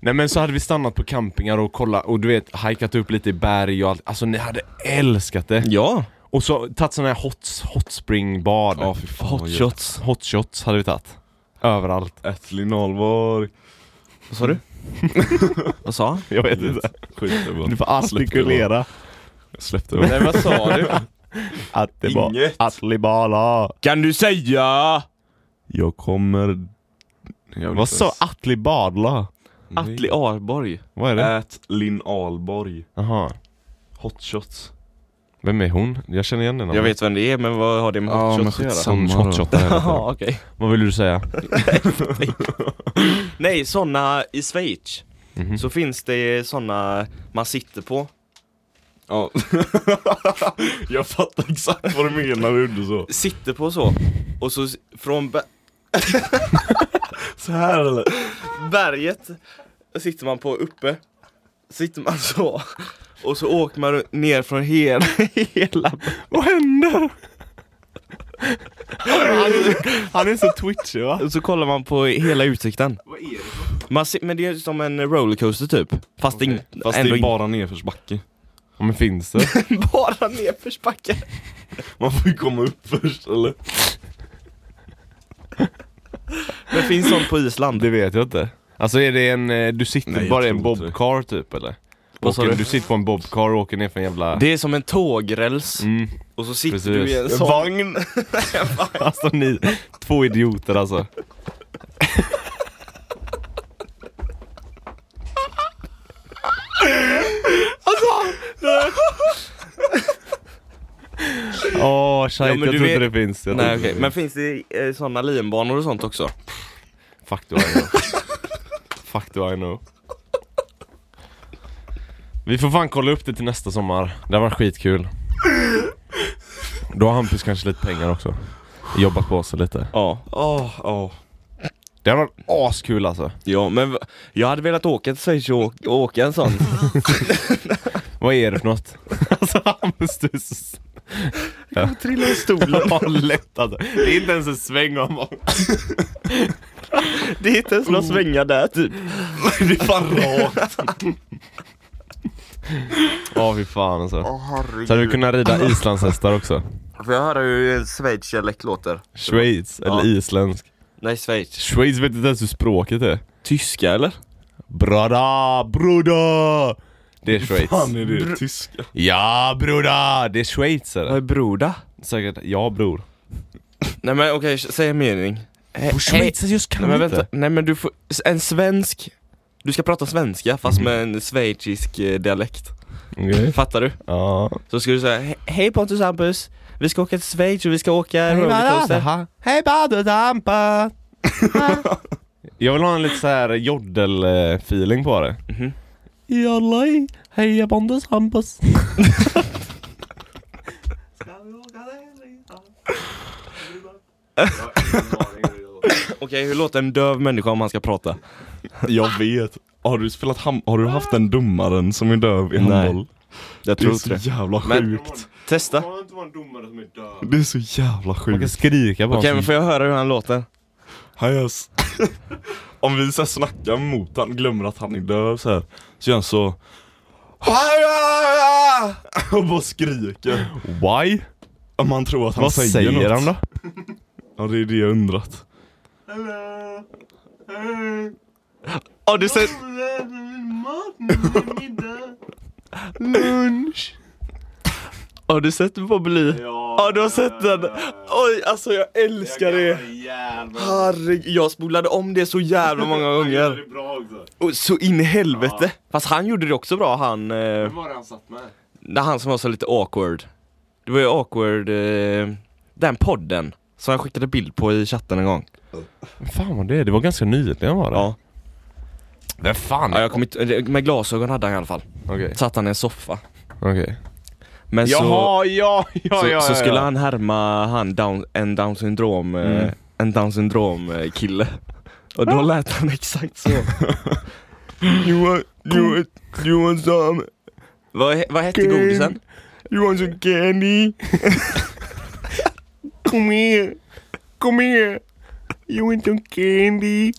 A: Nej men så hade vi stannat på campingar och kollat och du vet, hajkat upp lite i berg och allt. Alltså ni hade älskat det.
C: Ja,
A: Och så tagit sådana här hot, hot spring bad.
D: Ja fy fan vad
C: hot
D: gött.
C: shots.
A: Hot shots hade vi tagit. Överallt.
D: Ätlin Ahlborg.
C: Vad (laughs) sa du? Vad sa han?
A: Jag vet
D: Skit
A: inte.
D: Skit, det bara.
A: Du får artikulera.
D: Släppte jag.
C: vad sa du?
A: Att det var
D: Inget.
A: Atlibala.
C: Kan du säga?
D: Jag kommer...
A: Vad sa Atlibala?
C: Atli Arborg.
A: Vad är det?
D: Ät Linn Ahlborg.
A: Jaha.
D: Hot shots.
A: Vem är hon? Jag känner igen den
C: Jag vet vem det är, men vad har det med hot shots att göra?
A: Som
D: Samma då. (laughs)
A: hotshotare.
C: Jaha, okej.
A: Vad vill du säga?
C: Nej, såna i Schweiz.
A: Mhm.
C: Så finns det såna man sitter på.
D: Ja. (laughs) jag fattar exakt vad du menar när du så.
C: Sitter på så. Och så s- från be-
D: Så här eller?
C: berget sitter man på uppe. Sitter man så. Och så åker man ner från hela, hela
A: Vad händer? Han är, han är så twitchig va?
C: Och så kollar man på hela utsikten. Vad är det? Man ser, men det är som en rollercoaster typ. Fast, in,
D: Fast
C: ändå
D: det är bara nedförsbacke.
A: Ja, men finns
D: (laughs)
A: det?
C: in, (laughs) bara nedförsbacke.
D: Man får ju komma upp först eller?
C: Men finns sånt på Island?
A: Det vet jag inte. Alltså är det en, eh, du sitter
D: Nej, jag
A: bara i
D: tror
A: en
D: inte det.
A: bobcar typ eller?
C: Vad sa
A: Åker,
C: du?
A: du? sitter på en bobcar och åker ner för en jävla...
C: Det är som en tågräls.
A: Mm.
C: Och så sitter
A: Precis.
C: du i en
A: En
C: sån.
D: Vagn!
A: (laughs) Alltså ni, två idioter alltså.
C: Alltså!
A: Åh shit, jag
C: men du
A: tror inte
C: vet-
A: det finns. Jag tror
C: Nej
A: inte
C: okej,
A: det
C: men
A: finns.
C: finns det eh, såna linbanor och sånt också?
A: Fuck do I know. Fuck do I know. Vi får fan kolla upp det till nästa sommar. Det var skitkul. Då har Hampus kanske lite pengar också. Jobbat på sig lite.
C: Ja.
D: Åh, åh.
A: Det var askul alltså.
C: Ja men v- jag hade velat åka till Schweiz och åka, och åka en sån.
A: Vad är det för (laughs) något? alltså Hampus du är så... Jag kommer trilla i stolen. (laughs) ja, lätt alltså. Det är inte ens en sväng om
C: det Oh. (laughs) är inte ens några svängar där typ.
D: Det är fan rakt.
A: Ja fy fan alltså.
E: Åh herregud.
A: Så hade du kunnat rida islandshästar också.
E: Får jag höra hur schweizdialekt låter?
A: Schweiz, eller
E: Ja.
A: isländsk.
E: Nej, Schweiz.
A: Schweiz vet inte ens hur språket är.
C: Tyska eller?
A: Brada, broda! Det är Schweiz.
D: Fan är det tyska?
A: Ja broda! Det är Schweiz är
C: Vad
A: det.
C: är broda?
A: Säkert, ja bror.
C: Nej men okej, säg en mening. Eh, hej.
A: just kan
C: Nej men vänta, nej men du får, en svensk Du ska prata svenska fast med en schweizisk eh, dialekt
A: Okej.
C: Fattar du?
A: Ja.
C: Så ska du säga "He- Hej Pontus Hampus Vi ska åka till Schweiz och vi ska åka rollercoaster
A: Hej (laughs) badedampa! Jag vill ha en lite så här jodel-feeling på det.
C: Mhm.
A: Jodlaj, heja Pontus Hampus.
C: Okej, hur låter en döv människa om han ska prata?
D: Jag vet. Har du spelat ham- Har du haft den dummaren som är döv i
C: Nej,
D: handboll?
C: Jag
D: Det är
C: tror inte
D: så
C: det
D: jävla
C: Men-
D: sjukt.
C: Testa
A: kan inte vara en domare som är död.
D: Det är så jävla
A: Man kan
D: sjukt.
A: skrika på
C: Okej
A: honom.
C: men får jag höra hur han låter?
D: Han gör s- (laughs) Om vi så här snackar mot han glömmer att han är döv så här. Så gör han så. (laughs) Och bara skriker.
A: Why?
D: Om man tror att han
A: Vad
D: säger,
A: säger,
D: något.
A: han då?
D: Ja det är det jag undrat.
C: Ja du ser...
D: (laughs)
C: Har du sett Bobbly? Ja, ja du har sett den? Oj alltså jag älskar det! Herregud, jag spolade om det så jävla många gånger! Och så in i helvete! Fast han gjorde det också bra han... Eh,
A: var det han satt med?
C: det han som var så lite awkward Det var ju awkward... Eh, den podden som jag skickade bild på i chatten en gång
A: Fan vad det är, det var ganska nyligen var det?
C: Ja.
A: Vem fan?
C: ja, jag kom inte, Med glasögon hade han i alla fall,
A: Okej,
C: satt han i en soffa
A: okej.
C: Men så...
A: Jaha, ja, ja,
C: Så,
A: ja,
C: så
A: ja,
C: skulle
A: ja.
C: han härma han down, en down syndrom, eh, en down syndrom eh, kille Och då lät han exakt så you, want, you, want, you want some Vad, he- vad hette godisen?
A: You want some
C: (laughs)
A: candy? Kom here! Kom here! You want some
C: (laughs)
A: candy?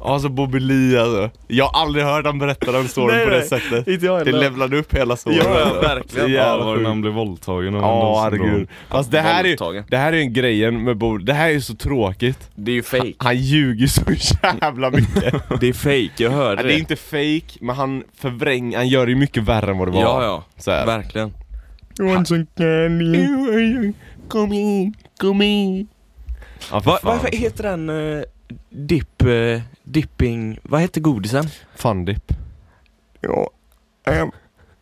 A: alltså Bobby Lee alltså. Jag har aldrig hört han berätta den storyn
C: Nej,
A: på det
C: nej.
A: sättet.
C: Inte jag
A: Det levlade upp hela storyn.
C: Ja, ja, verkligen.
A: Så
D: Ja, var
A: Jävla
D: det när
A: sjukt.
D: han blev våldtagen av en
A: Ja,
D: Downs syndrom?
A: herregud. Fast det här är ju,
C: Våldtagen.
A: det här är ju en grejen med Bobby. Det här är ju så tråkigt.
C: Det är ju fake (laughs)
A: Han ljuger så jävla mycket.
C: Det är fake, jag hörde
A: Ja, det är inte fake, men han förvränger, han gör det ju mycket värre än vad det var.
C: Ja ja,
A: Så här.
C: verkligen
A: Kom in, kom in. Ja, för
C: Va,
A: fan.
C: Varför heter den eh, dipp, eh, dipping, vad hette godisen?
A: Fundipp.
C: Ja, jag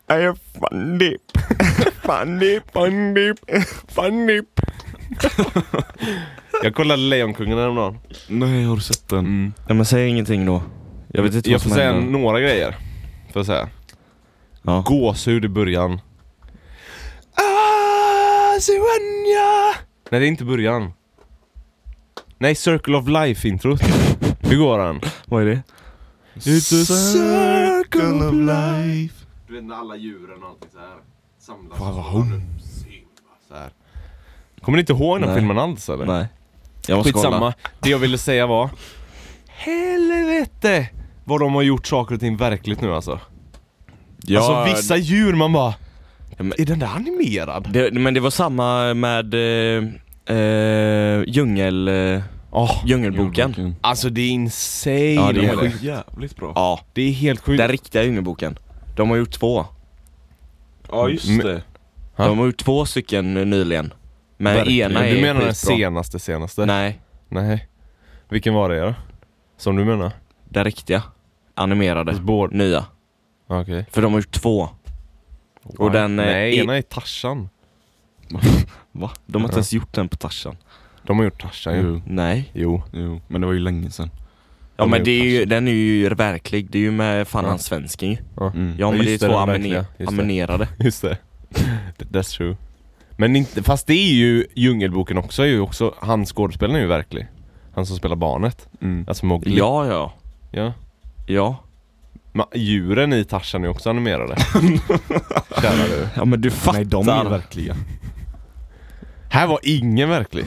C: är
A: (laughs)
C: Fandip. Fandip.
A: Fundipp,
C: (laughs)
A: fundipp. jag kollade Lejonkungen häromdagen.
D: Nej, har du sett den?
C: Ja men säg ingenting då. Jag vet inte
A: Jag
C: vad
A: får
C: som
A: säga
C: händer.
A: några grejer. Får jag säga.
C: Ja.
A: Gåshud i början. Ah, Siwanya. Nej det är inte början. Nej, Circle of Life-introt. Hur går den?
C: Vad är det?
D: It's a circle of life
A: Du vet när alla djuren och allting såhär samlas
D: Vad var hon?
A: så här. Kommer ni inte ihåg den
C: Nej.
A: filmen alls eller?
C: Nej. Jag måste kolla.
A: Skitsamma, det jag ville säga var Helvete! Vad de har gjort saker och ting verkligt nu alltså
C: Ja,
A: Alltså vissa djur man bara
C: Ja, men-
A: Är den där animerad?
C: Det, men det var samma med eh, eh, djungel, eh,
A: Ja,
C: Djungelboken.
D: Jordboken.
A: Alltså det är insane
C: Ja, det är
A: eller?
C: sjukt.
D: Jävligt bra
C: Ja,
A: det är helt sjukt
C: den riktiga djungelboken. De har gjort två.
D: Ja
A: Men-
D: just det
A: Ja.
C: De har gjort två stycken eh, nyligen. Men
A: Verkligen.
C: ena är
A: Du menar den
C: skitbra.
A: senaste senaste?
C: Nej,
A: Nej Vilken var det då? Som du menar?
C: den riktiga. Animerade.
A: Bård?
C: Nya.
A: Ah, Okej
C: För de har gjort två. Och den, eh,
A: Nej,
C: i-
A: ena är Tarzan
C: Va? De har inte ens gjort den på Tarzan.
A: De har gjort Tarzan ju
C: Mm.
D: Jo,
C: Nej.
A: Jo (laughs)
D: jo, men det var ju länge sedan
C: Ja
A: De har
C: men det är
A: gjort
C: ju, den är ju verklig, det är ju med fan
A: Ja.
C: han svensken ju.
A: Ja.
D: Mm.
C: Ja men det är
A: just det,
C: två
A: den
C: amene-
A: verkliga. Just det.
C: amenerade.
A: Just det. That's true. Men inte, fast det är ju Djungelboken också, är ju också, han skådespelaren är ju verklig. Han som spelar barnet.
D: Mm.
A: Alltså Mowgli.
C: Ja ja,
A: ja.
C: ja.
A: Men djuren i Tarzan är också
C: (laughs)
A: animerade. Kära du.
C: Ja men du fattar.
D: Nej de är verkliga
A: Här var ingen verklig.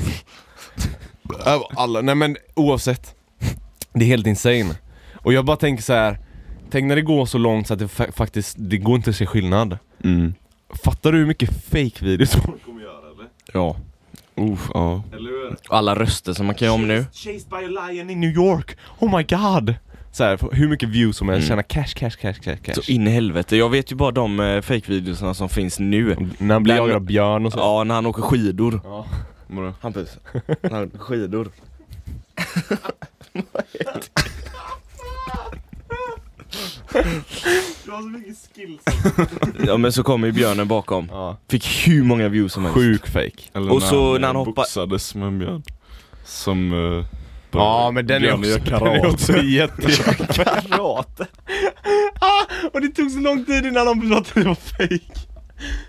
A: Här var alla, nej men oavsett. Det är helt insane. Och jag bara tänker så här. Tänk när det går så långt så att det fa- faktiskt, det går inte att se skillnad.
D: Mm.
A: Fattar du hur mycket fake-videos folk kommer göra eller?
C: Ja.
D: Uff, ja.
A: Eller hur?
C: Alla röster som man kan göra om nu.
A: Chased by a lion in New York! Oh my god! Så här, f- hur mycket views som helst, tjäna cash, cash, cash, cash, cash.
C: Mm. Så in i helvete. Jag vet ju bara de eh, fake-videorna som finns nu.
A: när han blir
C: Den-
A: jagad av björn och så.
C: Ja, när han åker skidor.
A: Ja.
D: Vadå?
C: Hampus, när han åker skidor.
A: Du har så mycket skills.
C: Ja men så kommer ju björnen bakom.
A: Ja.
C: Fick hur många views som helst.
A: Sjuk fake.
D: Eller
C: Och så när han
D: eh,
C: hoppar-
D: boxades med en björn. Som... eh, bara-
A: Ja men den är
D: björnen
A: också, (laughs)
D: gör
A: den är
D: karate.
A: också jätte- (laughs) karate. ah, och det tog så lång tid innan de förstod att det var fejk.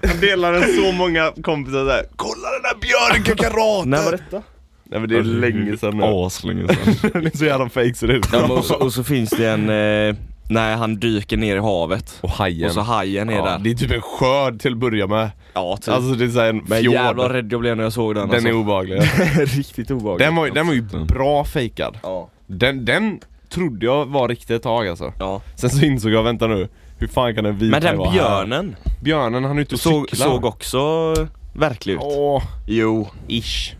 A: Han delade så många kompisar där. Kolla den där björnen kan karate!
C: När var detta?
A: Nej men det är länge sedan
D: (laughs)
A: nu.
D: Aslänge sedan.
A: (laughs) Den är så jävla fejk så det är
C: Ja, men och, så, och så finns det en, eh, när han dyker ner i havet.
A: Och hajen.
C: Och så hajen är
A: ja,
C: där.
A: Det är typ en skörd till att börja med.
C: Ja typ.
A: Alltså det är såhär en
C: men
A: fjord.
C: jävlar vad rädd jag blev när jag såg den
A: den är
C: alltså.
A: obehaglig.
C: (laughs) Riktigt obehaglig.
A: Den var, ju- den var ju bra fejkad.
C: Ja.
A: Den, den trodde jag var riktigt ett tag alltså.
C: ja.
A: Sen så insåg jag, vänta nu, hur fan kan en vit
C: Men den
A: haj vara här?
C: björnen
A: Björnen han är ute och
C: såg,
A: cyklar.
C: såg också verklig ut.
A: Åh,
C: Jo.
A: ish.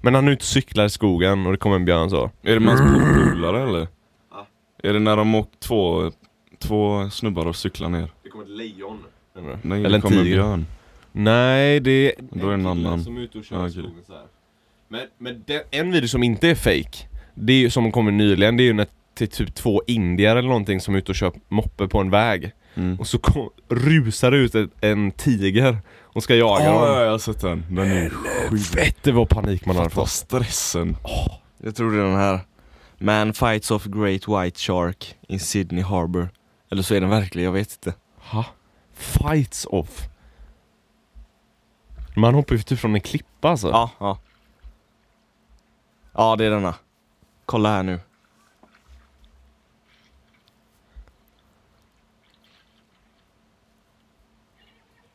A: Men han är ute och cyklar i skogen och det kommer en björn så.
D: är det med hans polare eller? Är det när de åkt två, två snubbar och cyklar ner?
A: Det kommer ett lejon.
D: Nej,
A: Eller
D: Eller
A: en
D: det kommer
A: tiger.
D: björn.
A: Nej, det är
D: Då är det en
A: kille
D: annan.
A: som är ute och
D: Ja,
A: kör i
D: okej.
A: skogen så här. Men, men den, en video som inte är fake det är ju, som kommer nyligen, det är ju när till typ två indier eller någonting som är ute och kör moppe på en väg.
D: Mm.
A: Och så kom, rusar det ut ett, en tiger och ska jaga
D: Ja,
A: dem.
D: jag har sett den. Den är sjuk.
A: Fett vad panik man hade
D: Fatta
A: fått.
D: stressen.
C: Jag tror det är den här. Man fights off great white shark in Sydney Harbour. Eller så är den verklig, jag vet inte.
A: Ha? Fights off? Man hoppar ju typ från en klippa alltså.
C: Ja, ja. Ja, det är denna. Kolla här nu.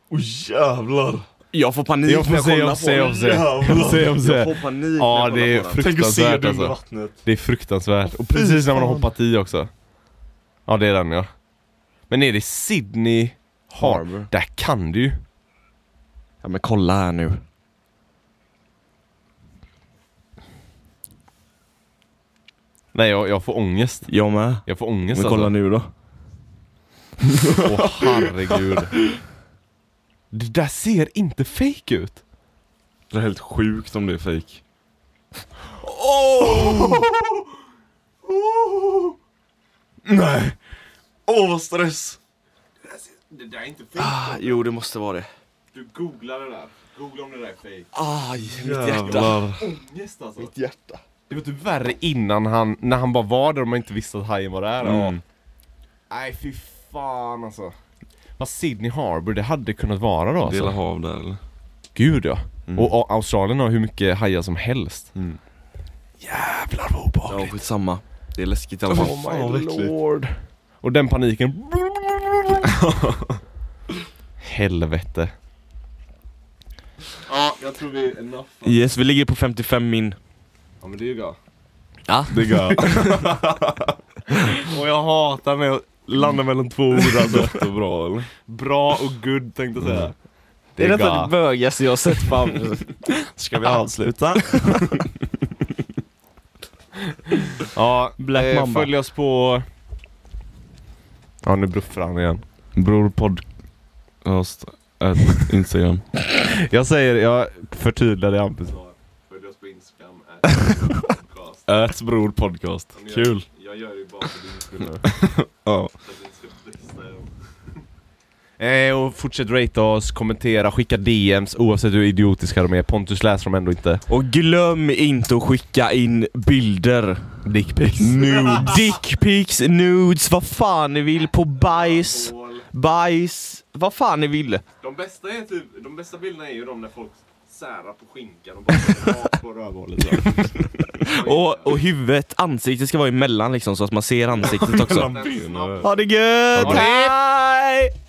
D: Åh jävlar!
C: Jag får panik
A: Jag får se, jag får se, jag får se. Jag får se, jag får se.
C: panik
A: Ja det är fruktansvärt alltså.
D: vattnet.
A: Det är fruktansvärt. Och precis när man har hoppat i också. Ja det är den ja. Men är det Sydney Harbour?
C: Harbour.
A: Där kan du ju.
C: Ja men kolla här nu.
A: Nej jag, jag får ångest.
C: Jag med.
A: Jag får ångest
C: Men kolla
A: alltså.
C: nu då.
A: Åh herregud. Det där ser inte fake ut.
D: Det är helt sjukt om det är fake. Nej! Åh vad stress!
A: Det där är inte fake.
C: Ah, jo det måste vara det.
A: Du googlar det där. Googla om det där är fake.
C: Aj,
D: Jävlar.
A: Ångest alltså. Mitt hjärta. Det var typ värre innan han, när han bara var där och man inte visste att hajen var där.
D: Mm.
A: Nej fy fan alltså. Vad Sydney Harbour det hade kunnat vara då alltså.
D: Dela hav där eller?
A: Gud ja.
D: Mm.
A: Och, och Australien har hur mycket hajar som helst.
D: Mm.
A: Jävlar vad obehagligt.
C: Ja skitsamma. Det är läskigt i alla fall.
A: Oh my lord. Och den paniken. Helvete. Ja, jag tror vi är enough.
C: Yes, vi ligger på 55 min.
A: Ja men det är ju bra.
D: Det går
A: Och jag hatar när jag landar mellan två ord alltså.
D: jättebra eller?
A: Bra och good tänkte jag säga.
C: Det är
A: Mm. är
C: nästan
A: bra.
C: det bögigaste jag har sett fram (laughs) Ska vi avsluta?
A: Ja,
C: Black
A: eh,
C: Mamba.
A: följ oss på... Ja nu bruffar han igen.
D: Bror podcast... at Instagram.
A: Jag säger, jag förtydligar det Hampus. Följ oss på Instagram, podcast.
D: Ät bror podcast. Kul.
A: Jag gör det bara för din skull. Alltså,
D: Ja.
A: Eh, och fortsätt rata oss, kommentera, skicka DMs oavsett hur idiotiska de är. Pontus läser dem ändå inte.
C: Och glöm inte att skicka in bilder.
A: Dickpics.
C: Nudes. Dickpics, nudes, vad fan ni vill på bajs, bajs, vad fan ni vill.
A: De bästa, är typ, de bästa bilderna är ju de när folk särar på skinkan
D: (laughs)
A: och bara rakt på rövhålet.
C: Och, och huvudet, ansiktet (laughs) ska vara emellan liksom så att man ser ansiktet också.
D: Mellan benen.
C: Ha det gött!
A: Ha det.
C: Hej!